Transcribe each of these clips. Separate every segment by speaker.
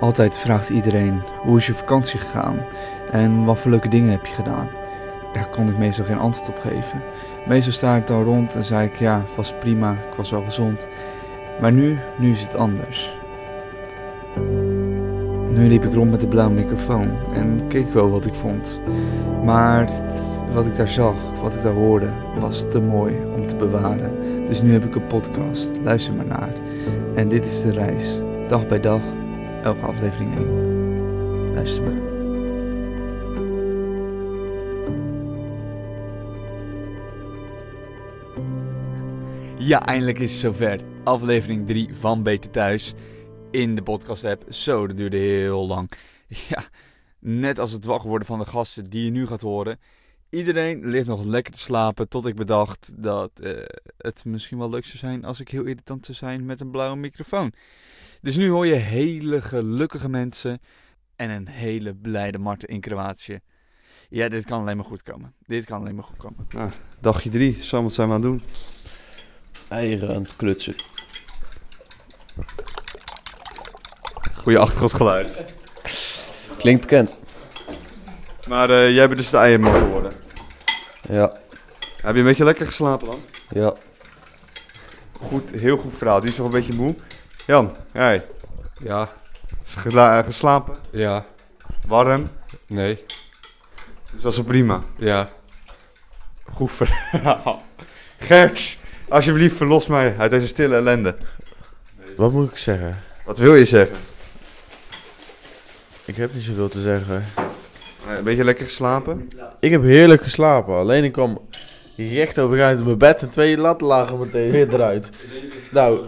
Speaker 1: Altijd vraagt iedereen: hoe is je vakantie gegaan? En wat voor leuke dingen heb je gedaan? Daar kon ik meestal geen antwoord op geven. Meestal sta ik dan rond en zei ik: ja, het was prima, ik was wel gezond. Maar nu, nu is het anders. Nu liep ik rond met de blauwe microfoon en keek wel wat ik vond. Maar t- wat ik daar zag, wat ik daar hoorde, was te mooi om te bewaren. Dus nu heb ik een podcast. Luister maar naar. En dit is de reis. Dag bij dag, elke aflevering 1. Luister maar. Ja, eindelijk is het zover. Aflevering 3 van Beter Thuis in de podcast app. Zo, dat duurde heel lang. Ja, net als het wakker worden van de gasten die je nu gaat horen. Iedereen ligt nog lekker te slapen tot ik bedacht dat eh, het misschien wel leuk zou zijn als ik heel irritant zou zijn met een blauwe microfoon. Dus nu hoor je hele gelukkige mensen en een hele blijde Marten in Kroatië. Ja, dit kan alleen maar goed komen. Dit kan alleen maar goed komen. Nou, dagje drie, Sam, wat zijn we aan het doen?
Speaker 2: Eieren aan het klutsen.
Speaker 1: Goeie achtergrondgeluid.
Speaker 2: Klinkt bekend.
Speaker 1: Maar jij bent dus de eierman geworden.
Speaker 2: Ja,
Speaker 1: Heb je een beetje lekker geslapen dan?
Speaker 2: ja.
Speaker 1: Goed, heel goed verhaal. Die is nog een beetje moe. Jan, hey.
Speaker 3: Ja,
Speaker 1: Is gedla- eh, Geslapen,
Speaker 3: ja,
Speaker 1: warm.
Speaker 3: nee,
Speaker 1: Dus dat is wel prima.
Speaker 3: ja.
Speaker 1: Goed verhaal. Gert, alsjeblieft verlos mij uit deze stille ellende.
Speaker 4: Wat moet ik zeggen?
Speaker 1: Wat wil je zeggen?
Speaker 4: Ik heb niet zoveel te zeggen.
Speaker 1: Eh, Een beetje lekker geslapen?
Speaker 4: Ik heb heerlijk geslapen. Alleen ik kwam recht overeind op mijn bed en twee latten lagen meteen weer eruit. Nou,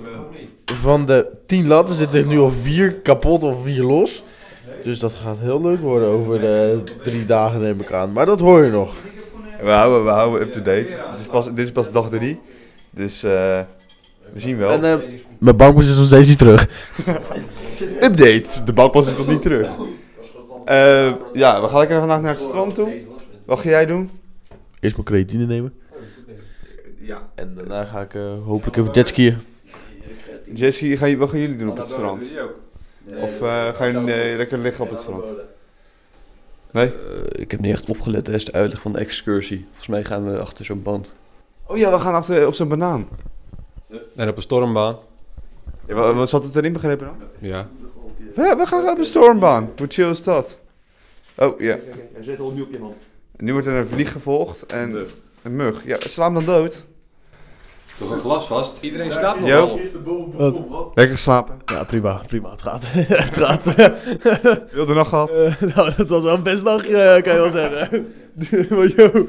Speaker 4: van de tien latten zitten er nu al vier kapot of vier los. Dus dat gaat heel leuk worden over de drie dagen neem ik aan. Maar dat hoor je nog.
Speaker 1: We houden, we houden up to date. Dit is pas, dit is pas dag drie. Dus eh, we zien wel.
Speaker 4: En eh, mijn bankbus is nog steeds niet terug.
Speaker 1: Update, de bouwpas is nog niet terug. Eh, ja, we gaan lekker vandaag naar het strand toe. Wat ga jij doen?
Speaker 4: Eerst mijn creatine nemen.
Speaker 1: Ja.
Speaker 4: En daarna ga ik eh, hopelijk even jetskiën.
Speaker 1: Jesse, ga je, wat gaan jullie doen op het strand? Of eh ga je eh, lekker liggen op het strand? Nee?
Speaker 2: Eh, ik heb niet echt opgelet tijdens de uitleg van de excursie. Volgens mij gaan we achter zo'n band.
Speaker 1: Oh ja, we gaan achter op zo'n banaan.
Speaker 3: En op een stormbaan.
Speaker 1: Ja, wa- wat zat het erin begrepen dan?
Speaker 3: Ja.
Speaker 1: Ja, we gaan op een stormbaan. Hoe chill is dat? Oh ja.
Speaker 2: Er zit al nu op je hand.
Speaker 1: Nu wordt er een vlieg gevolgd en een mug. Ja, sla hem dan dood.
Speaker 3: Toch een glas vast. Iedereen slaapt nog
Speaker 1: Jo.
Speaker 3: wel.
Speaker 1: Lekker slapen.
Speaker 4: Ja, prima, prima. Het gaat. het gaat.
Speaker 1: Wilde nog gehad.
Speaker 4: Eh, nou, dat was wel een best dag, eh, kan je wel zeggen. maar yo.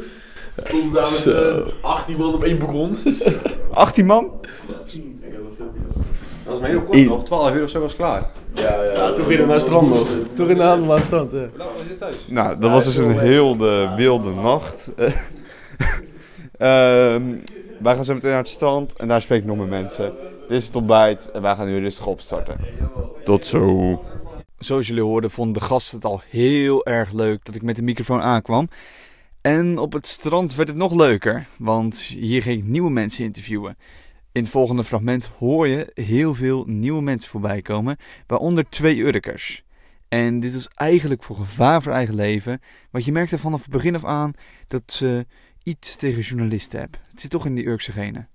Speaker 4: Stond daar met
Speaker 2: Dus, Zo.
Speaker 4: 18 man op één balkon.
Speaker 1: 18 man.
Speaker 3: Dat was maar heel kort
Speaker 4: Eén.
Speaker 3: nog. 12 uur of zo was klaar.
Speaker 4: Ja, ja. Toen ging het naar strand nog. Toen ging het naar strand, ja.
Speaker 3: Hoe laat was je thuis?
Speaker 1: Nou, dat was dus een heel de wilde nacht. Ehm, wij gaan zo meteen naar het strand en daar spreek ik nog met mensen. Dit is het ontbijt en wij gaan nu rustig opstarten. Tot zo. Zoals jullie hoorden vonden de gasten het al heel erg leuk dat ik met de microfoon aankwam. En op het strand werd het nog leuker, want hier ging ik nieuwe mensen interviewen. In het volgende fragment hoor je heel veel nieuwe mensen voorbij komen, waaronder twee Urkers. En dit was eigenlijk voor gevaar voor eigen leven. Want je merkte vanaf het begin af aan dat ze iets tegen journalisten hebben. Het zit toch in die Urkse genen.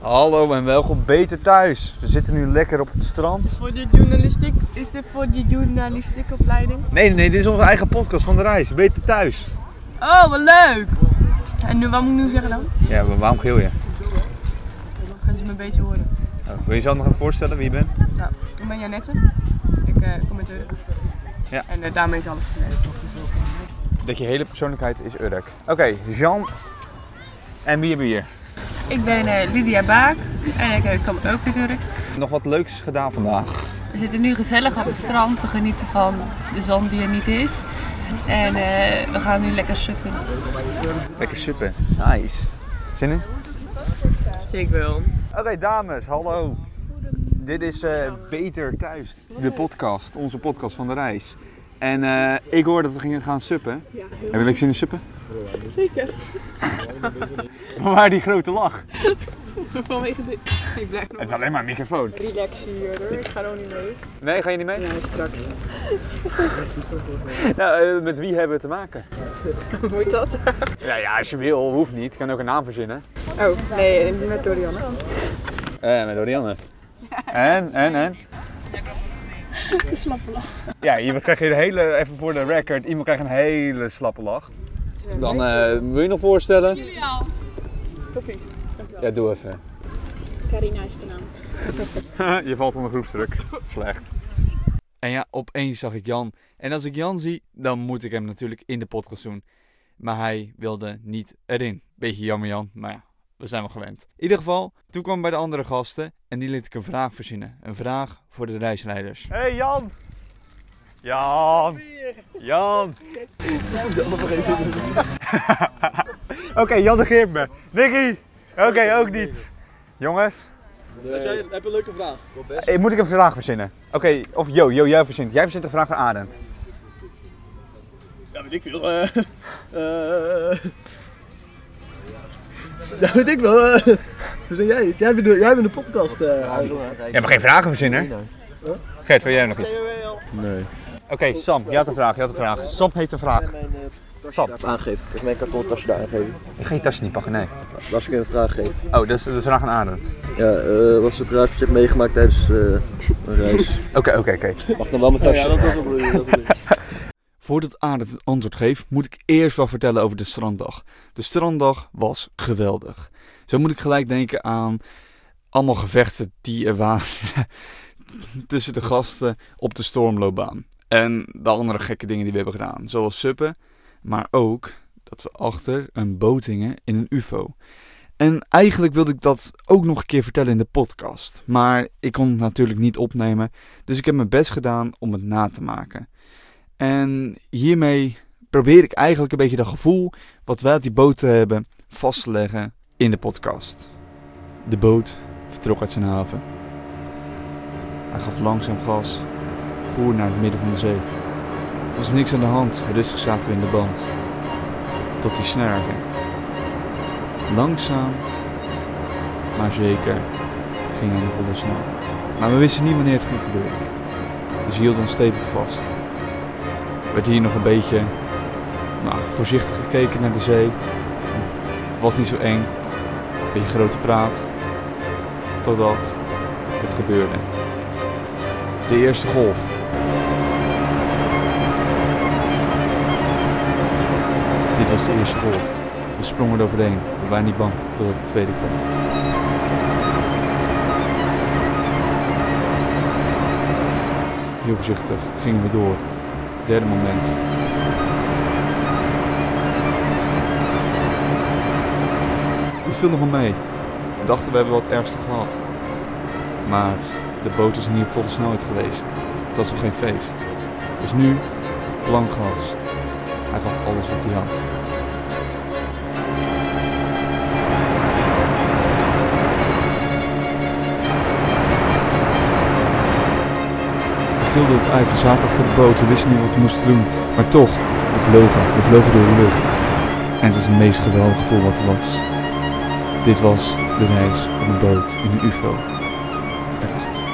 Speaker 1: Hallo en welkom beter thuis. We zitten nu lekker op het strand.
Speaker 5: Voor de journalistiek, is dit voor de journalistiekopleiding?
Speaker 1: Nee, nee, dit is onze eigen podcast van de reis. Beter thuis.
Speaker 5: Oh, wat leuk! En nu, wat moet ik nu zeggen dan?
Speaker 1: Ja, maar waarom geel je?
Speaker 5: Dan gaan ze me beter horen.
Speaker 1: Nou, Wil je jezelf nog even voorstellen wie je bent?
Speaker 5: Nou, ik ben Janette. Ik eh, kom uit Urk.
Speaker 1: Ja.
Speaker 5: En eh, daarmee is alles gezegd.
Speaker 1: Dat je hele persoonlijkheid is Urk. Oké, Jean. En wie hebben we hier?
Speaker 5: Ik ben eh, Lydia Baak en ik eh, kom ook uit Urk.
Speaker 1: Nog wat leuks gedaan vandaag.
Speaker 6: We zitten nu gezellig op het strand te genieten van de zon die er niet is. En eh, we gaan nu lekker suppen.
Speaker 1: Lekker suppen. Nice. Zin in?
Speaker 5: Zeker wel.
Speaker 1: Oké, dames, hallo. Dit is eh, Beter Thuis, de podcast, onze podcast van de reis. En eh, ik hoorde dat we gingen gaan suppen. Hebben jullie zin in suppen?
Speaker 5: Zeker.
Speaker 1: Maar waar die grote lach?
Speaker 6: Vanwege dit. Ik blijf nog
Speaker 1: Het is alleen maar een microfoon.
Speaker 6: relax hier hoor. Ik ga er ook niet mee.
Speaker 1: Nee, ga je niet mee?
Speaker 6: Nee, straks.
Speaker 1: Nou, eh, met wie hebben we te maken?
Speaker 6: Moet dat?
Speaker 1: Ja, ja, als je wil, hoeft niet. Ik kan ook een naam verzinnen.
Speaker 6: Oh, nee, met Dorianne.
Speaker 1: Eh, met Orianne. En, en, en?
Speaker 6: Slappe lach.
Speaker 1: Ja, hier wat krijg je de hele, even voor de record, iemand krijgt een hele slappe lach. Dan eh wil je nog voorstellen?
Speaker 6: Julia. Of niet?
Speaker 1: Ja, doe even.
Speaker 6: Carina is de naam.
Speaker 1: je valt onder groepsdruk. Slecht. En ja, opeens zag ik Jan. En als ik Jan zie, dan moet ik hem natuurlijk in de podcast doen. Maar hij wilde niet erin. Beetje jammer Jan, maar ja, we zijn wel gewend. In ieder geval, toen kwam ik bij de andere gasten en die liet ik een vraag verzinnen. Een vraag voor de reisleiders. Hé hey Jan!
Speaker 7: Ah,
Speaker 1: Jan! Jan! Oké, Jan negeert me. Nicky! Oké, ook niet. Jongens,
Speaker 4: heb een leuke vraag.
Speaker 1: eh, Moet ik een vraag verzinnen? Oké, of Jo, Jo, jij verzint. Jij verzint een vraag voor Arend.
Speaker 4: Ja, weet ik veel. eh eh ja, weet ik wel. eh. Hoe zeg jij het? Jij bent de, jij bent de podcast. eh
Speaker 1: Jij hebt geen vragen verzinnen? Gert, wil jij nog iets? Nee. Oké, Sam, jij had een vraag, je had een vraag. Sam heeft een vraag. Sam,
Speaker 7: aangeeft. Ik heb mijn karton tasje daar aangegeven.
Speaker 1: ik ga je tasje niet pakken, nee.
Speaker 7: Als ik een vraag geef.
Speaker 1: Oh, dat is, dat is een vraag aan Arend.
Speaker 7: Ja, eh, wat is het raarste wat je hebt meegemaakt tijdens eh, een reis?
Speaker 1: Oké, oké, oké.
Speaker 7: Mag dan wel mijn tasje? Ja, dat was ook
Speaker 1: Voordat Arend het antwoord geeft, moet ik eerst wel vertellen over de stranddag. De stranddag was geweldig. Zo moet ik gelijk denken aan allemaal gevechten die er waren tussen de gasten op de stormloopbaan. En de andere gekke dingen die we hebben gedaan, zoals suppen, maar ook dat we achter een botingen in een UFO. En eigenlijk wilde ik dat ook nog een keer vertellen in de podcast, maar ik kon het natuurlijk niet opnemen, dus ik heb mijn best gedaan om het na te maken. En hiermee probeer ik eigenlijk een beetje dat gevoel wat wij uit die boot hebben vast te leggen in de podcast. De boot vertrok uit zijn haven. Hij gaf langzaam gas, voer naar het midden van de zee. Er was niks aan de hand, rustig zaten we in de band. Tot die snaar ging. Langzaam, maar zeker, ging hij nog onder snelheid. Maar we wisten niet wanneer het ging gebeuren. Dus we hielden ons stevig vast werd hier nog een beetje nou, voorzichtig gekeken naar de zee. Was niet zo eng. Beetje grote praat. Totdat het gebeurde. De eerste golf. Dit was de eerste golf. We sprongen eroverheen. We waren niet bang totdat de tweede kwam. Heel voorzichtig gingen we door derde moment. Het viel nog wel mee. We dachten we hebben wat ergste gehad. Maar de boot is niet op volle snelheid geweest. Het was nog geen feest. Dus nu, blank gas. Hij gaf alles wat hij had. We gilden het uit, we zaten achter de boot, we wisten niet wat we moesten doen. Maar toch, we vlogen, we vlogen door de lucht. En het was het meest geweldige gevoel wat er was. Dit was de reis op een boot in een ufo. Erachter.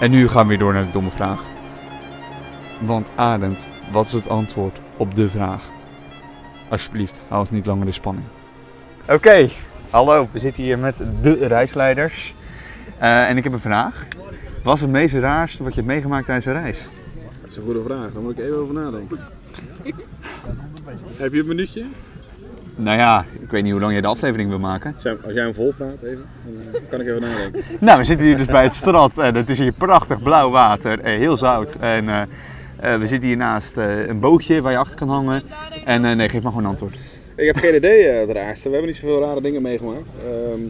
Speaker 1: En nu gaan we weer door naar de domme vraag. Want Arend, wat is het antwoord op de vraag? Alsjeblieft, hou ons niet langer de spanning. Oké, hallo. We zitten hier met de reisleiders. Eh, en ik heb een vraag. Wat is het meest raarste wat je hebt meegemaakt tijdens een reis?
Speaker 3: Dat is een goede vraag, daar moet ik even over nadenken. Heb je een minuutje?
Speaker 1: Nou ja, ik weet niet hoe lang jij de aflevering wil maken.
Speaker 3: Zijn- Als jij hem vol praat even, dan eh, kan ik even nadenken.
Speaker 1: Nou, we zitten hier dus bij het strand. En het is hier prachtig blauw water. eh, heel zout. En eh, eh, we zitten hier naast eh, een bootje waar je achter kan hangen. En eh, nee, geef maar gewoon een antwoord.
Speaker 3: Ik heb geen idee eh, het raarste. We hebben niet zoveel rare dingen meegemaakt. Ehm,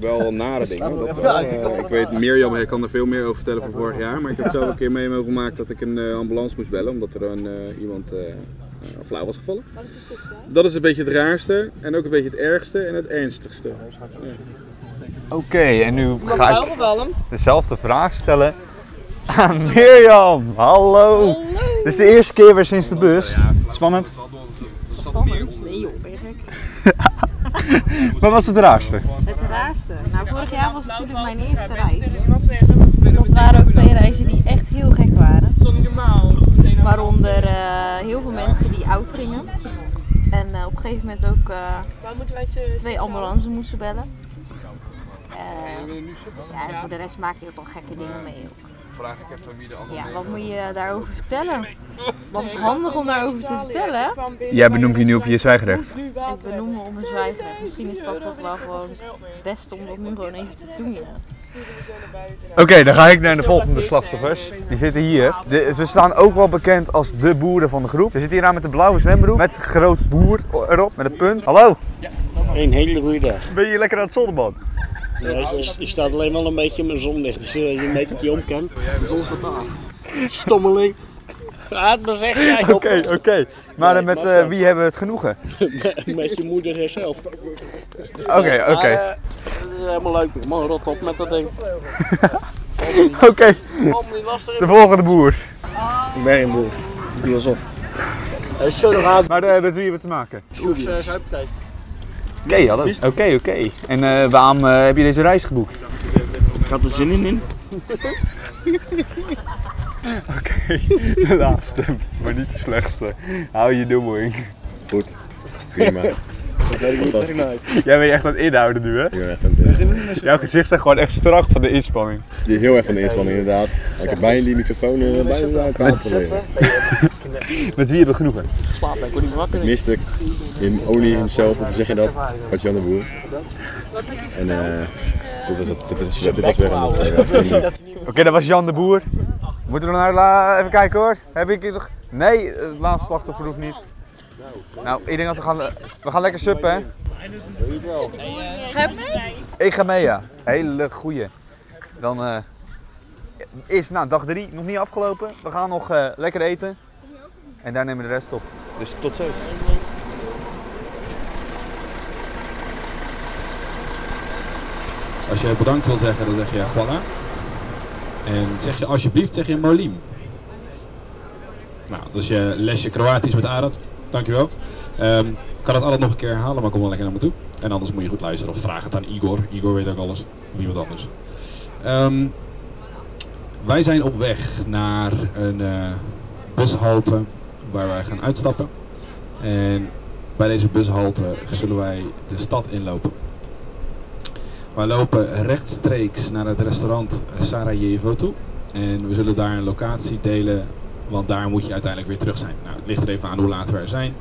Speaker 3: wel nare dingen. Dat wel. Eh, ik weet, Mirjam hij kan er veel meer over vertellen van vorig jaar. Maar ik heb zelf een keer mee mogen maken dat ik een eh, ambulance moest bellen. Omdat er een, eh, iemand eh, eh, flauw was gevallen. Dat is een beetje het raarste. En ook een beetje het ergste en het ernstigste.
Speaker 1: Oké, en nu ga ik
Speaker 6: wel hem.
Speaker 1: dezelfde vraag stellen aan Mirjam. Hallo. Dit is de eerste keer weer sinds de bus. Spannend.
Speaker 6: Spannend. Nee joh, ben je gek?
Speaker 1: Wat was het raarste?
Speaker 6: Het raarste. Nou, vorig jaar was het natuurlijk mijn eerste reis. Dat waren ook twee reizen die echt heel gek waren. Waaronder eh, heel veel mensen die oud gingen. En eh, op een gegeven moment ook eh, twee ambulances moesten bellen. Eh, ja, en voor de rest maak je ook wel gekke dingen mee. Ook. Vraag ik even wie de Ja, wat moet je daarover vertellen? Wat is handig om daarover te vertellen?
Speaker 1: Jij benoemt je nu op je zwijgerecht.
Speaker 6: Ik benoem me om een zwijger. Misschien is dat toch wel gewoon het beste om dat nu gewoon even te doen. Ja.
Speaker 1: Oké, dan ga ik naar de volgende slachtoffers. Die zitten hier. De- ze staan ook wel bekend als de boeren van de groep. Ze zitten hier aan met een blauwe zwembroek. Met groot boer erop, met een punt. Hallo,
Speaker 8: Een hele goede dag.
Speaker 1: ben je lekker aan het zonnebaden?
Speaker 8: Je staat alleen wel een beetje in mijn zonlicht, dus eh, je merkt dat hij om kan. De zon staat aan. Stommeling. Laat maar zeggen, jij
Speaker 1: Oké, oké. Maar dan met eh, wie hebben we het genoegen?
Speaker 8: Met je moeder herself.
Speaker 1: Oké, oké.
Speaker 8: Maar, eh, dat is helemaal leuk, man. Rot op met dat ding.
Speaker 1: Oké,
Speaker 8: Kom niet lastig.
Speaker 1: de volgende boer.
Speaker 8: Ik ben geen boer. Ik doe alsof. Hij is zo nog aan.
Speaker 1: Maar daar met wie hebben we te maken?
Speaker 8: Zoek ze zuipkijs.
Speaker 1: Oké, hallo. Oké, oké. En eh, waarom eh, heb je deze reis geboekt?
Speaker 8: Ik had er zin in in.
Speaker 1: Oké, de laatste, maar niet de slechtste. How you doing?
Speaker 2: Prima.
Speaker 1: Jij bent je echt aan het inhouden nu, hè? Jouw gezicht zegt gewoon echt strak van de inspanning.
Speaker 7: Die heel erg van de inspanning inderdaad. Ik heb bijna die microfoon eh, bijna uit elkaar geprobeerd.
Speaker 1: Met wie hebben we genoegen?
Speaker 8: Slaap, ik word niet wakker.
Speaker 7: Mystic, in olie himself, of hoe zeg je dat? Wat Jan de Boer. En eh, dit was, het- dit is dit was weer een optreden.
Speaker 1: Oké, dat was Jan de Boer. Moeten we nog naar la- even kijken hoor. Heb ik hier nog... Nee, het laatste slachtoffer hoeft niet. Nou, ik denk dat we gaan... We gaan lekker suppen, hè? Ik ga mee, ja. Hele goeie. Dan eh, is nou, dag 3 nog niet afgelopen. We gaan nog eh, lekker eten. En daar nemen we de rest op. Dus tot zo.
Speaker 9: Als je bedankt wil zeggen, dan zeg je Juana. En zeg je alsjeblieft, zeg je Molim. Nou, dus je lesje Kroatisch met Arad. Dankjewel. Ehm ik kan het allemaal nog een keer herhalen, maar kom wel lekker naar me toe. En anders moet je goed luisteren of vraag het aan Igor. Igor weet ook alles. Of iemand anders. Ehm, wij zijn op weg naar een eh, bushalte waar wij gaan uitstappen. En bij deze bushalte zullen wij de stad inlopen. Wij lopen rechtstreeks naar het restaurant Sarajevo toe. En we zullen daar een locatie delen, want daar moet je uiteindelijk weer terug zijn. Nou, het ligt er even aan hoe laat we er zijn.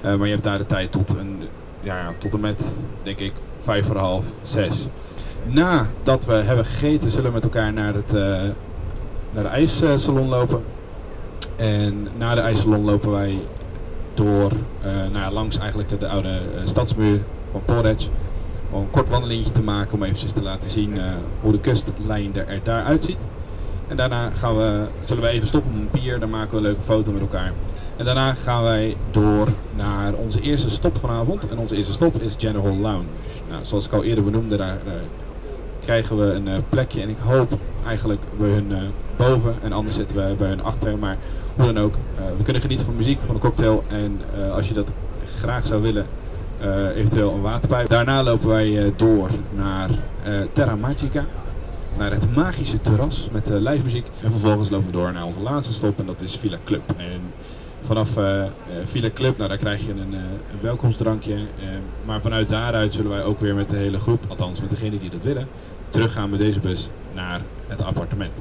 Speaker 9: Eh, maar je hebt daar de tijd tot, een, ja, tot en met, denk ik, vijf voor half, zes. Nadat we hebben gegeten, zullen we met elkaar naar, het, eh, naar de ijssalon lopen. En na de ijssalon lopen wij door, eh, nou, ja, langs eigenlijk de, de oude eh, stadsmuur van Porec om een kort wandelingetje te maken om eventjes te laten zien eh, hoe de kustlijn er, er daar uitziet. En daarna gaan we, zullen we even stoppen op een pier, dan maken we een leuke foto met elkaar. En daarna gaan wij door naar onze eerste stop vanavond. En onze eerste stop is General Lounge. Nou, zoals ik al eerder benoemde, daar eh, krijgen we een eh, plekje. En ik hoop eigenlijk bij hun eh, boven en anders zitten we bij hun achter. Maar hoe dan ook, eh, we kunnen genieten van muziek, van een cocktail. En eh, als je dat graag zou willen, eh, eventueel een waterpijp. Daarna lopen wij eh, door naar eh, Terra Magica. Naar het magische terras met eh, live muziek. En vervolgens lopen we door naar onze laatste stop en dat is Villa Club. En vanaf eh, eh, Villa Club, nou daar krijg je een, eh, een welkomstdrankje. Eh, maar vanuit daaruit zullen wij ook weer met de hele groep, althans met degenen die dat willen, teruggaan met deze bus naar het appartement.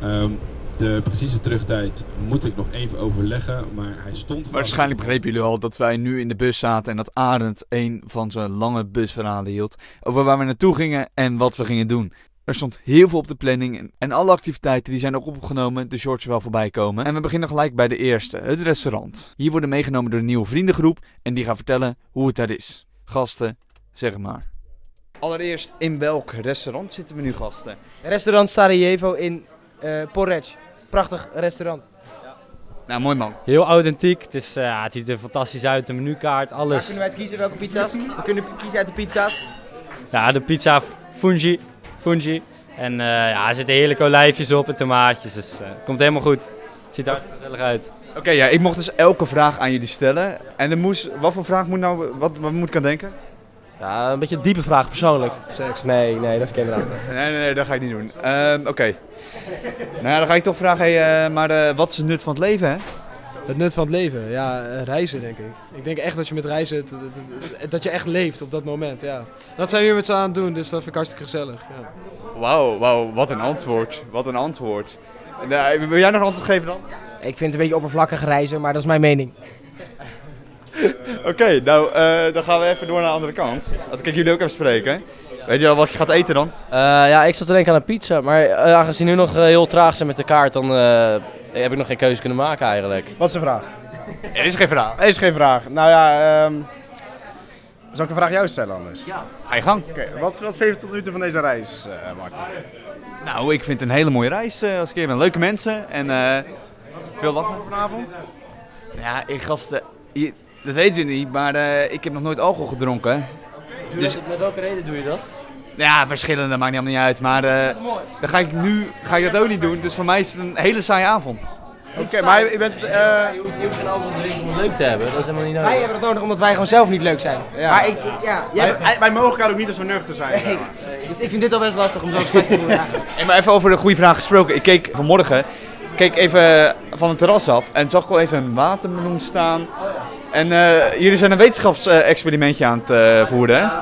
Speaker 9: Ehm, de precieze terugtijd moet ik nog even overleggen, maar hij stond... vast.
Speaker 1: Waarschijnlijk begrepen jullie al dat wij nu in de bus zaten en dat Arend een van zijn lange busverhalen hield over waar we naartoe gingen en wat we gingen doen. Er stond heel veel op de planning en- en alle activiteiten die zijn ook opgenomen, dus je hoort ze wel voorbij komen. En we beginnen gelijk bij de eerste, het restaurant. Hier worden meegenomen door een nieuwe vriendengroep en die gaan vertellen hoe het daar is. Gasten, zeg het maar. Allereerst, in welk restaurant zitten we nu gasten?
Speaker 10: Restaurant Sarajevo in eh Porreč. Prachtig restaurant.
Speaker 1: Nou, mooi man.
Speaker 11: Heel authentiek. Het, is, eh, het ziet er fantastisch uit. De menukaart,
Speaker 10: Daar
Speaker 11: alles.
Speaker 10: kunnen wij kiezen welke pizza's. We kunnen kiezen uit de pizza's.
Speaker 11: Ja, de pizza fungi. Fungi. En eh, ja, er zitten heerlijke olijfjes op en tomaatjes. Dus eh, komt helemaal goed. Ziet er hartstikke gezellig uit.
Speaker 1: Oké, ja, ik mocht dus elke vraag aan jullie stellen. En er moest, wat voor vraag moet nou, wat, wat moet ik aan denken?
Speaker 12: Ja, Eh, een beetje een diepe vraag persoonlijk. Seks? Nee, nee, dat is camera.
Speaker 1: Nee, nee, nee, dat ga ik niet doen. Ehm, Oké. Nou ja, dan ga ik toch vragen, hey, eh, maar eh, wat is het nut van het leven, hè?
Speaker 13: Het nut van het leven, ja, eh, reizen denk ik. Ik denk echt dat je met reizen, het- het- het- het- dat je echt leeft op dat moment, ja. Dat zijn we hier met z'n aan het doen, dus dat vind ik hartstikke gezellig, ja.
Speaker 1: Nou, Wauw, wauw, wat een antwoord. Wat een antwoord. Nou, wil jij nog een antwoord geven dan?
Speaker 14: Ik vind het een beetje oppervlakkig reizen, maar dat is mijn mening.
Speaker 1: Oké, nou, eh, dan gaan we even door naar de andere kant. Laat ik jullie ook even spreken. Weet je wel wat je gaat eten dan?
Speaker 12: Eh, ja, ik zat te denken aan een pizza, maar eh, aangezien nu nog eh, heel traag zijn met de kaart, dan eh, heb ik nog geen keuze kunnen maken eigenlijk.
Speaker 15: Wat is de vraag?
Speaker 1: Er is geen vraag.
Speaker 15: Er is geen vraag. Nou ja, ehm, zal ik een vraag jou stellen anders? Ja.
Speaker 1: Ga je gang.
Speaker 15: Oké, wat, wat vind je tot nu toe van deze reis, eh Martin?
Speaker 1: Nou, ik vind het een hele mooie reis eh, als ik hier ben. Leuke mensen en eh, veel lachen.
Speaker 15: vanavond?
Speaker 1: Ja, ik gasten, je- dat weten jullie niet, maar eh, ik heb nog nooit alcohol gedronken. Dus
Speaker 12: met welke reden doe je dat?
Speaker 1: ja, verschillende, maakt niet, allemaal niet uit. Maar eh, dan ga ik nu ga ik dat ook niet doen, dus voor mij is het een hele saaie avond.
Speaker 15: Oké, maar je bent... eh
Speaker 12: je hoeft geen alcohol te drinken om leuk te hebben, dat is helemaal niet nodig.
Speaker 14: Wij hebben het nodig omdat wij gewoon zelf niet leuk zijn.
Speaker 15: Ja.
Speaker 14: Maar ik, ik- ja, jij
Speaker 15: wij,
Speaker 14: bent-
Speaker 15: wij mogen elkaar ook niet als we nuchter zijn. zeg maar.
Speaker 14: dus ik vind dit al best lastig om zo'n gesprek te voeren. ja.
Speaker 1: Hey, maar even over de goede vraag gesproken. Ik keek vanmorgen keek even van het terras af en zag ik eens een watermeloen staan. En eh, jullie zijn een wetenschapsexperimentje aan het eh, voeren, hè?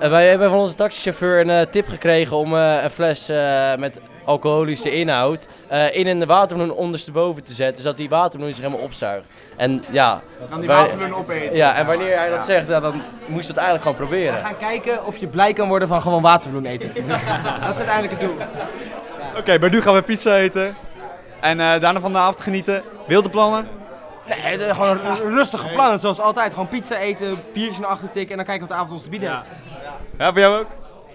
Speaker 12: Eh, wij hebben van onze taxichauffeur een eh, tip gekregen om eh, een fles eh, met alcoholische inhoud eh, in een watermeloen ondersteboven te zetten, zodat die watermeloen zich helemaal opzuigt. En ja...
Speaker 14: Dan die
Speaker 12: wij-
Speaker 14: watermeloen opeten,
Speaker 12: Ja,
Speaker 14: zeg
Speaker 12: en
Speaker 14: maar.
Speaker 12: wanneer hij dat
Speaker 14: Ja.
Speaker 12: zegt, ja, dan moest je het eigenlijk gewoon proberen.
Speaker 14: We gaan kijken of je blij kan worden van gewoon waterbloem eten. dat is uiteindelijk het doel.
Speaker 1: Oké, maar nu gaan we pizza eten. En eh, daarna van de avond genieten. Wilde plannen?
Speaker 14: Nee, de- gewoon r- rustige plannen zoals altijd. Gewoon pizza eten, biertjes naar achter tikken en dan kijken wat de avond ons te bieden heeft.
Speaker 1: Ja, voor jou ook?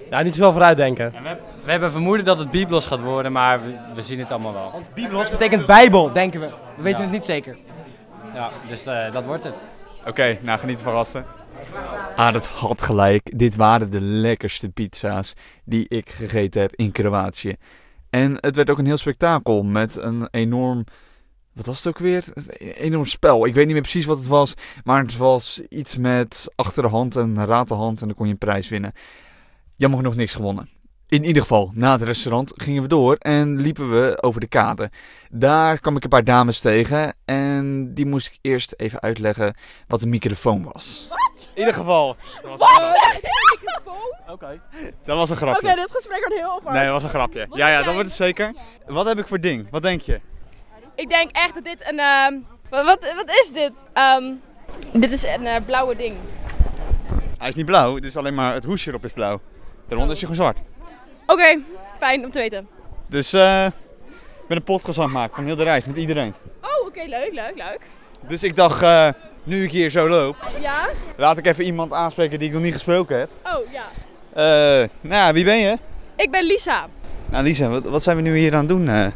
Speaker 12: Ja, niet veel vooruit denken. we hebben vermoeden dat het Biblos gaat worden, maar we, we zien het allemaal wel. Want
Speaker 14: Biblos betekent Bijbel, denken we. We weten
Speaker 12: Ja.
Speaker 14: het niet zeker.
Speaker 12: Ja, dus eh, dat wordt het.
Speaker 1: Oké, nou geniet van gasten. Ah, dat had gelijk. Dit waren de lekkerste pizza's die ik gegeten heb in Kroatië. En het werd ook een heel spektakel met een enorm. Wat was het ook weer? Een enorm spel. Ik weet niet meer precies wat het was. Maar het was iets met achter de hand en raad de hand. En dan kon je een prijs winnen. Jammer genoeg niks gewonnen. In ieder geval, na het restaurant gingen we door en liepen we over de kade. Daar kwam ik een paar dames tegen. En die moest ik eerst even uitleggen wat een microfoon was.
Speaker 16: Wat?
Speaker 1: In ieder geval.
Speaker 16: Wat zeg je? Microfoon? Oké.
Speaker 1: Dat was een grapje.
Speaker 16: Oké, dit gesprek wordt heel apart.
Speaker 1: Nee, dat was een grapje. Ja, ja, dat wordt het zeker. Wat heb ik voor ding? Wat denk je?
Speaker 16: Ik denk echt dat dit een... ehm, wa- wat, wat is dit? Ehm, dit is een eh, blauwe ding.
Speaker 1: Hij is niet blauw, dus alleen maar het hoesje erop is blauw. Daaronder is hij gewoon zwart.
Speaker 16: Oké, fijn om te weten.
Speaker 1: Dus eh, ik ben een podcast aan het maken van heel de reis met iedereen.
Speaker 16: Oh, oké, leuk, leuk, leuk.
Speaker 1: Dus ik dacht, eh, nu ik hier zo loop,
Speaker 16: Ja?
Speaker 1: laat ik even iemand aanspreken die ik nog niet gesproken heb.
Speaker 16: Oh, ja.
Speaker 1: Eh, nou, ja, wie ben je?
Speaker 16: Ik ben Lisa.
Speaker 1: Nou, Lisa, wat, wat zijn we nu hier aan het doen? eh?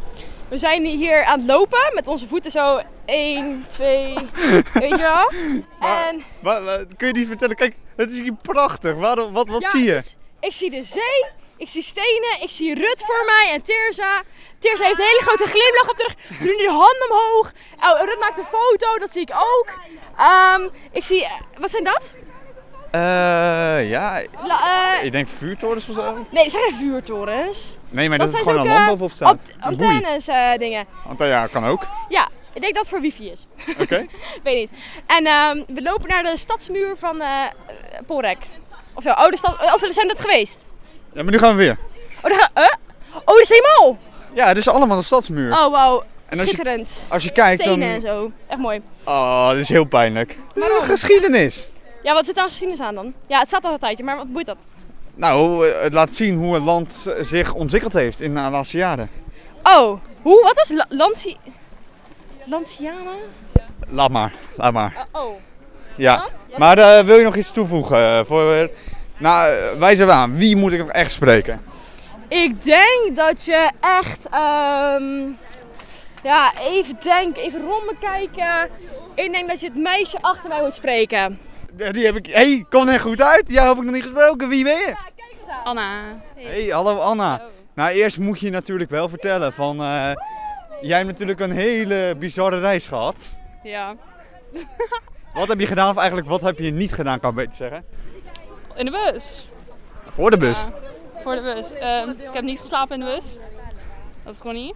Speaker 16: We zijn hier aan het lopen met onze voeten zo 1, 2, weet je wel? En
Speaker 1: Wa- wa- kun je niet vertellen? Kijk, het is hier prachtig. Waarom, wat wat
Speaker 16: Ja,
Speaker 1: zie je?
Speaker 16: het is- ik zie de zee, ik zie stenen, ik zie Rut voor mij en Teerza. Teerza heeft een hele grote glimlach op de rug. Ze doen nu de hand omhoog. Oh, Rut maakt een foto, dat zie ik ook. Ehm, ik zie, eh, wat zijn dat?
Speaker 1: Eh, ja,
Speaker 16: La- eh,
Speaker 1: ik denk vuurtorens of zo.
Speaker 16: nee, dat zijn geen vuurtorens.
Speaker 1: Nee, maar dat, is
Speaker 16: zijn
Speaker 1: gewoon een
Speaker 16: zulke
Speaker 1: lamp bovenop staat.
Speaker 16: ant-
Speaker 1: Een boei.
Speaker 16: antennes eh, dingen.
Speaker 1: Want eh, ja, kan ook.
Speaker 16: Ja, ik denk dat het voor wifi is.
Speaker 1: Oké.
Speaker 16: Weet niet. En ehm, we lopen naar de stadsmuur van eh eh, Polrek. Of ja, oude stad. eh, Of we zijn dat geweest?
Speaker 1: Ja, maar nu gaan we weer.
Speaker 16: Oh, daar, eh? oh dat is helemaal.
Speaker 1: Ja, het is allemaal een stadsmuur.
Speaker 16: Oh, wauw.
Speaker 1: En als je-
Speaker 16: Schitterend.
Speaker 1: als je kijkt, dan-
Speaker 16: Stenen en zo. Echt mooi.
Speaker 1: Oh, dit is heel pijnlijk. Dit is een geschiedenis.
Speaker 16: Ja, wat zit daar geschiedenis aan dan? Ja, het staat al een tijdje, maar wat boeit dat?
Speaker 1: Nou, eh, het laat zien hoe het land eh, zich ontwikkeld heeft in de laatste jaren.
Speaker 16: Oh, hoe? Wat is La Lanci... Lanciana?
Speaker 1: Laat maar, laat maar.
Speaker 16: Oh.
Speaker 1: Ja. Maar eh, wil je nog iets toevoegen? eh, voor... Nou, eh, wijs even aan. Wie moet ik nog echt spreken?
Speaker 16: Ik denk dat je echt... ehm, ja, even denken, even rond me kijken. Ik denk dat je het meisje achter mij moet spreken.
Speaker 1: Ja, Die heb ik... hey, komt er goed uit. Jij heb ik nog niet gesproken. Wie ben je?
Speaker 16: Anna.
Speaker 1: Hey, hallo Anna. Nou, eerst moet je natuurlijk wel vertellen van... eh, jij hebt natuurlijk een hele bizarre reis gehad.
Speaker 17: Ja.
Speaker 1: Wat heb je gedaan of eigenlijk wat heb je niet gedaan, kan ik beter zeggen.
Speaker 17: In de bus.
Speaker 1: Voor de bus.
Speaker 17: Ja, voor de bus. Ehm, ik heb niet geslapen in de bus. Dat kon niet.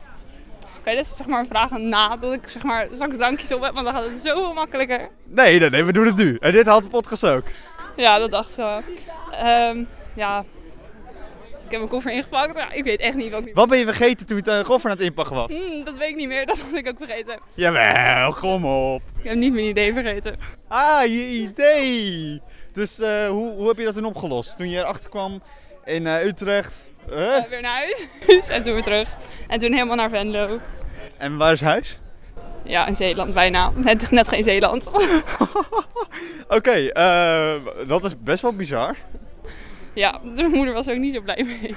Speaker 17: Oké, je dit is zeg maar een vraag na dat ik zeg maar straks drankjes op heb, want dan gaat het zoveel makkelijker.
Speaker 1: Nee, nee, nee, we doen het nu. En dit had de podcast ook.
Speaker 17: Ja, dat dacht ik wel. Ehm, ja. Ik heb mijn koffer ingepakt. Ja, ik weet echt niet wat ik nu...
Speaker 1: Wat ben je vergeten toen je het koffer aan het inpakken was?
Speaker 17: Hmm, dat weet ik niet meer, dat had ik ook vergeten.
Speaker 1: Jawel, kom op.
Speaker 17: Ik heb niet mijn idee vergeten.
Speaker 1: Ah, je idee. Dus eh, hoe, hoe heb je dat toen opgelost? Toen je erachter kwam in eh, Utrecht. Huh?
Speaker 17: Eh, weer naar huis en toen weer terug. En toen helemaal naar Venlo.
Speaker 1: En waar is huis?
Speaker 17: Ja, in Zeeland bijna. Net, net geen Zeeland.
Speaker 1: Oké, eh, dat is best wel bizar.
Speaker 17: ja, de moeder was ook niet zo blij mee.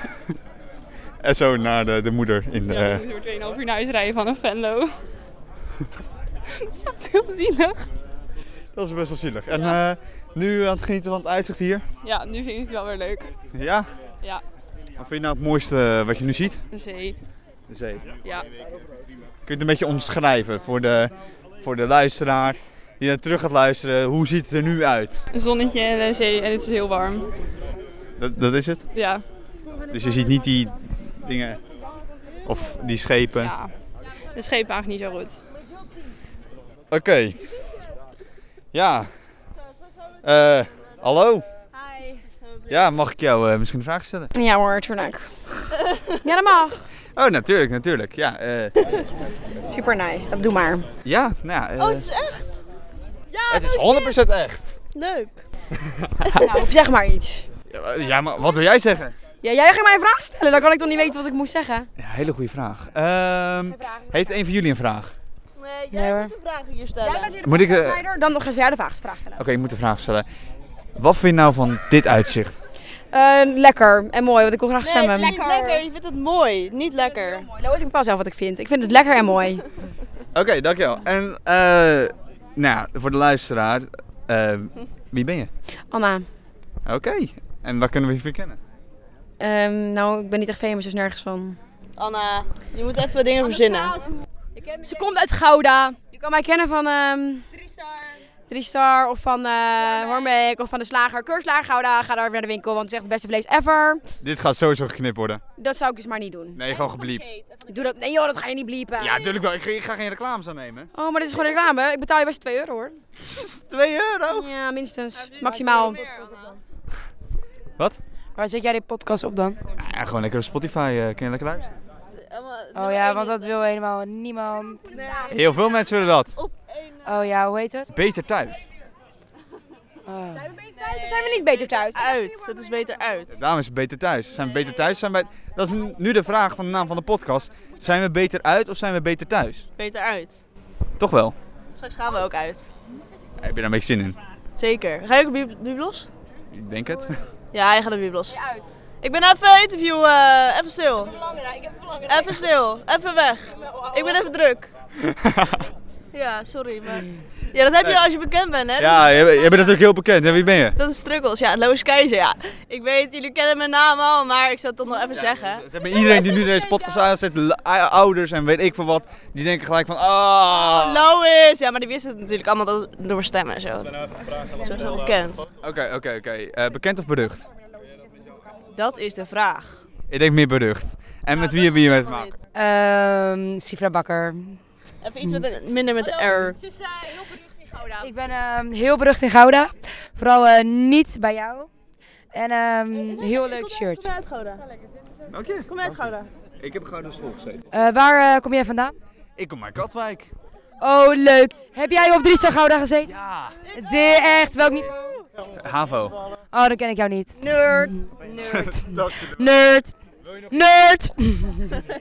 Speaker 1: En zo naar de, de moeder in eh, de...
Speaker 17: Ja, we moesten weer 2,5 uur naar huis rijden vanaf Venlo. dat is echt heel zielig.
Speaker 1: Dat is best wel zielig. En eh, nu aan het genieten van het uitzicht hier.
Speaker 17: Ja, nu vind ik het wel weer leuk.
Speaker 1: Ja.
Speaker 17: Ja,
Speaker 1: Wat vind je nou het mooiste wat je nu ziet?
Speaker 17: de zee.
Speaker 1: De zee.
Speaker 17: Ja.
Speaker 1: Kun je het een beetje omschrijven voor de, voor de luisteraar die naar terug gaat luisteren? Hoe ziet het er nu uit?
Speaker 17: Een zonnetje en een zee en het is heel warm.
Speaker 1: Dat, dat is het?
Speaker 17: Ja.
Speaker 1: Dus je ziet niet die dingen of die schepen.
Speaker 17: Ja. De scheep eigenlijk niet zo goed.
Speaker 1: Oké. Ja. Eh, hallo.
Speaker 16: Hi.
Speaker 1: Ja, mag ik jou eh, misschien een vraag stellen?
Speaker 16: Ja hoor, tuurlijk. Ja, dat mag.
Speaker 1: Oh, natuurlijk, natuurlijk. Ja, eh,
Speaker 16: Super nice, dat doe maar.
Speaker 1: ja nou ja. eh,
Speaker 16: echt? Ja,
Speaker 1: het is 100% echt.
Speaker 16: Leuk. nou, of zeg maar iets.
Speaker 1: Ja, maar wat wil jij zeggen?
Speaker 16: Ja, jij ging mij een vraag stellen, dan kan ik toch niet weten wat ik moest zeggen?
Speaker 1: Ja, hele goede vraag. Ehm, heeft een van jullie een vraag?
Speaker 18: Eh,
Speaker 16: Nee, jij moet een vraag hier stellen. Jij bent hier de
Speaker 1: Moet ik, eh,
Speaker 16: podcastleider, dan ga jij de vraag, vraag stellen.
Speaker 1: Oké, ik moet een vraag stellen. Wat vind je nou van dit uitzicht?
Speaker 16: Eh, lekker en mooi, want ik wil graag stemmen.
Speaker 18: Niet lekker, je vindt het mooi. Niet lekker.
Speaker 16: Nou weet ik bepaal zelf wat ik vind. Ik vind het lekker en mooi.
Speaker 1: Oké, dankjewel. En eh, nou, ja, voor de luisteraar, eh, wie ben je?
Speaker 16: Anna,
Speaker 1: Oké, en waar kunnen we je verkennen?
Speaker 16: ehm, nou, ik ben niet echt famous, dus nergens van.
Speaker 18: Anna, je moet even dingen verzinnen.
Speaker 16: Ze komt uit Gouda. Je kan mij kennen van... ehm Drie Star. of van eh Hornbeek of van de slager. Keurslager Gouda, ga daar weer naar de winkel, want het is echt het beste vlees ever.
Speaker 1: Dit gaat sowieso geknipt worden.
Speaker 16: Dat zou ik dus maar niet doen.
Speaker 1: Nee, gewoon gebliept.
Speaker 16: Doe dat. Nee joh, dat ga je niet bliepen.
Speaker 1: Ja, natuurlijk wel. Ik ga, ik ga geen reclames aannemen.
Speaker 16: Oh, maar dit is gewoon reclame. Ik betaal je best 2 euro hoor.
Speaker 1: 2 euro?
Speaker 16: Ja, minstens. Maximaal.
Speaker 1: Wat?
Speaker 19: Waar zet jij die podcast op dan?
Speaker 16: Eh,
Speaker 1: Ja, gewoon lekker op Spotify. eh, kun je lekker luisteren.
Speaker 19: Oh ja, want dat wil helemaal niemand.
Speaker 1: Heel veel mensen willen dat.
Speaker 16: eh,
Speaker 19: Oh ja, hoe heet het? Oh.
Speaker 1: Beter thuis.
Speaker 16: Zijn we beter thuis of zijn we niet beter thuis?
Speaker 18: Uit, het is beter uit.
Speaker 1: Daarom is het beter thuis. Zijn we beter thuis? Zijn wij... Dat is nu- nu de vraag van de naam van de podcast. Zijn we beter uit of zijn we beter thuis?
Speaker 18: Beter uit.
Speaker 1: Toch wel.
Speaker 18: Straks gaan we ook uit.
Speaker 1: Ja, heb je daar een beetje zin in?
Speaker 18: Zeker. Ga je ook de bib- biblos?
Speaker 1: Ik denk het.
Speaker 18: Ja, hij gaat de biblos. Ik ben even interview, eh, even stil. Even stil, even weg. Ik ben oh, even druk. Ja, sorry, maar... Ja, dat heb je als je bekend bent, hè?
Speaker 1: Ja, je, je bent natuurlijk heel bekend. En wie ben je?
Speaker 18: Dat is struggles, ja. Lois Keizer, ja. Ik weet, jullie kennen mijn naam al, maar ik zou het toch nog even zeggen.
Speaker 1: Zeg maar, iedereen die nu deze podcast aanzet, l- ouders en weet ik veel wat, die denken gelijk van,
Speaker 18: Oh,
Speaker 1: ah.
Speaker 18: Lois! Ja, maar die wisten het natuurlijk allemaal door- door mijn stem en zo. Zo is wel bekend.
Speaker 1: Oké, oké, oké. Eh, bekend of berucht?
Speaker 18: Dat is de vraag.
Speaker 1: Ik denk meer berucht. En met wie hebben we hier mee te maken?
Speaker 19: Ehm Sifra Bakker.
Speaker 18: Even iets met
Speaker 1: Hmm.
Speaker 18: een, minder met de R.
Speaker 19: Ik ben ehm, heel berucht in Gouda. Vooral eh, niet bij jou. En ehm, heel leuk shirt.
Speaker 18: Kom je uit Gouda?
Speaker 1: Dank je.
Speaker 18: Kom je uit Gouda?
Speaker 1: Ik heb gewoon op school gezeten.
Speaker 19: Eh, waar eh, kom jij vandaan?
Speaker 1: Ik kom uit Katwijk.
Speaker 19: Oh, leuk. Heb jij op Driestar Gouda gezeten?
Speaker 1: Ja.
Speaker 19: De, echt, welk niveau?
Speaker 1: HAVO.
Speaker 19: Oh, dan ken ik jou niet.
Speaker 18: Nerd.
Speaker 19: Nerd. Nerd. Nerd.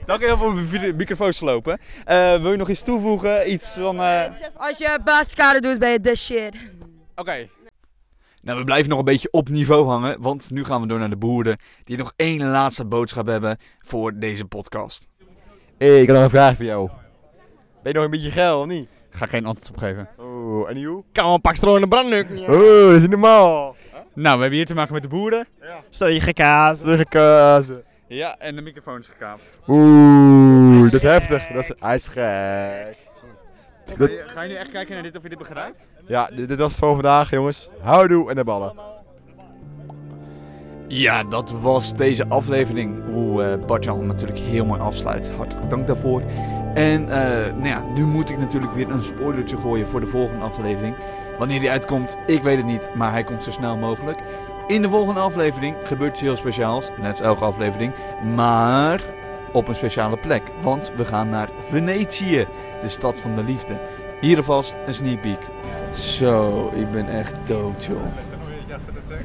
Speaker 1: Dank je wel voor mijn vi- microfoon slopen. Eh, wil je nog iets toevoegen? Iets van... eh,
Speaker 19: Als je basiskade doet, ben je de shit.
Speaker 1: Oké. Nou, we blijven nog een beetje op niveau hangen, want nu gaan we door naar de boeren die nog één laatste boodschap hebben voor deze podcast.
Speaker 20: Hey, ik heb nog een vraag voor jou. Ben je nog een beetje geil of niet?
Speaker 1: Ga geen antwoord op geven.
Speaker 20: Oh, en hoe?
Speaker 1: Kan wel een pak stro in de brandnuk.
Speaker 20: Oh, dat is niet normaal.
Speaker 1: Nou, we hebben hier te maken met de boeren.
Speaker 20: Stel je gekaas. De
Speaker 1: Ja, en de microfoon is gekaapt.
Speaker 7: Oeh, dat is heftig. Dat is, hij is gek.
Speaker 1: Ga
Speaker 7: Dat-
Speaker 1: je, ga je nu echt kijken naar dit of je dit begrijpt?
Speaker 7: ja, dit, dit was het voor vandaag, jongens. Houdoe en de ballen.
Speaker 1: Ja, dat was deze aflevering. Hoe eh Bart-Jan natuurlijk heel mooi afsluit. Hartelijk dank daarvoor. En eh, nou ja, nu moet ik natuurlijk weer een spoilertje gooien voor de volgende aflevering. Wanneer die uitkomt, ik weet het niet, maar hij komt zo snel mogelijk. In de volgende aflevering gebeurt iets heel speciaals, net als elke aflevering, maar op een speciale plek. Want we gaan naar Venetië, de stad van de liefde. Hier alvast een sneak peek. Zo, ik ben echt dood, joh.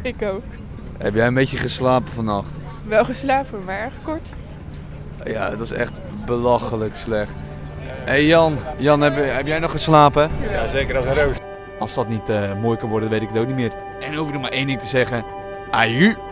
Speaker 21: Ik ook.
Speaker 1: Heb jij een beetje geslapen vannacht?
Speaker 21: Wel geslapen, maar erg kort.
Speaker 1: Ja, dat is echt belachelijk slecht. Hé hey Jan, Jan heb, heb jij nog geslapen?
Speaker 20: Ja, zeker als een roos.
Speaker 1: Als dat niet eh, mooi kan worden, weet ik het ook niet meer. En over nog maar één ding te zeggen. Aju!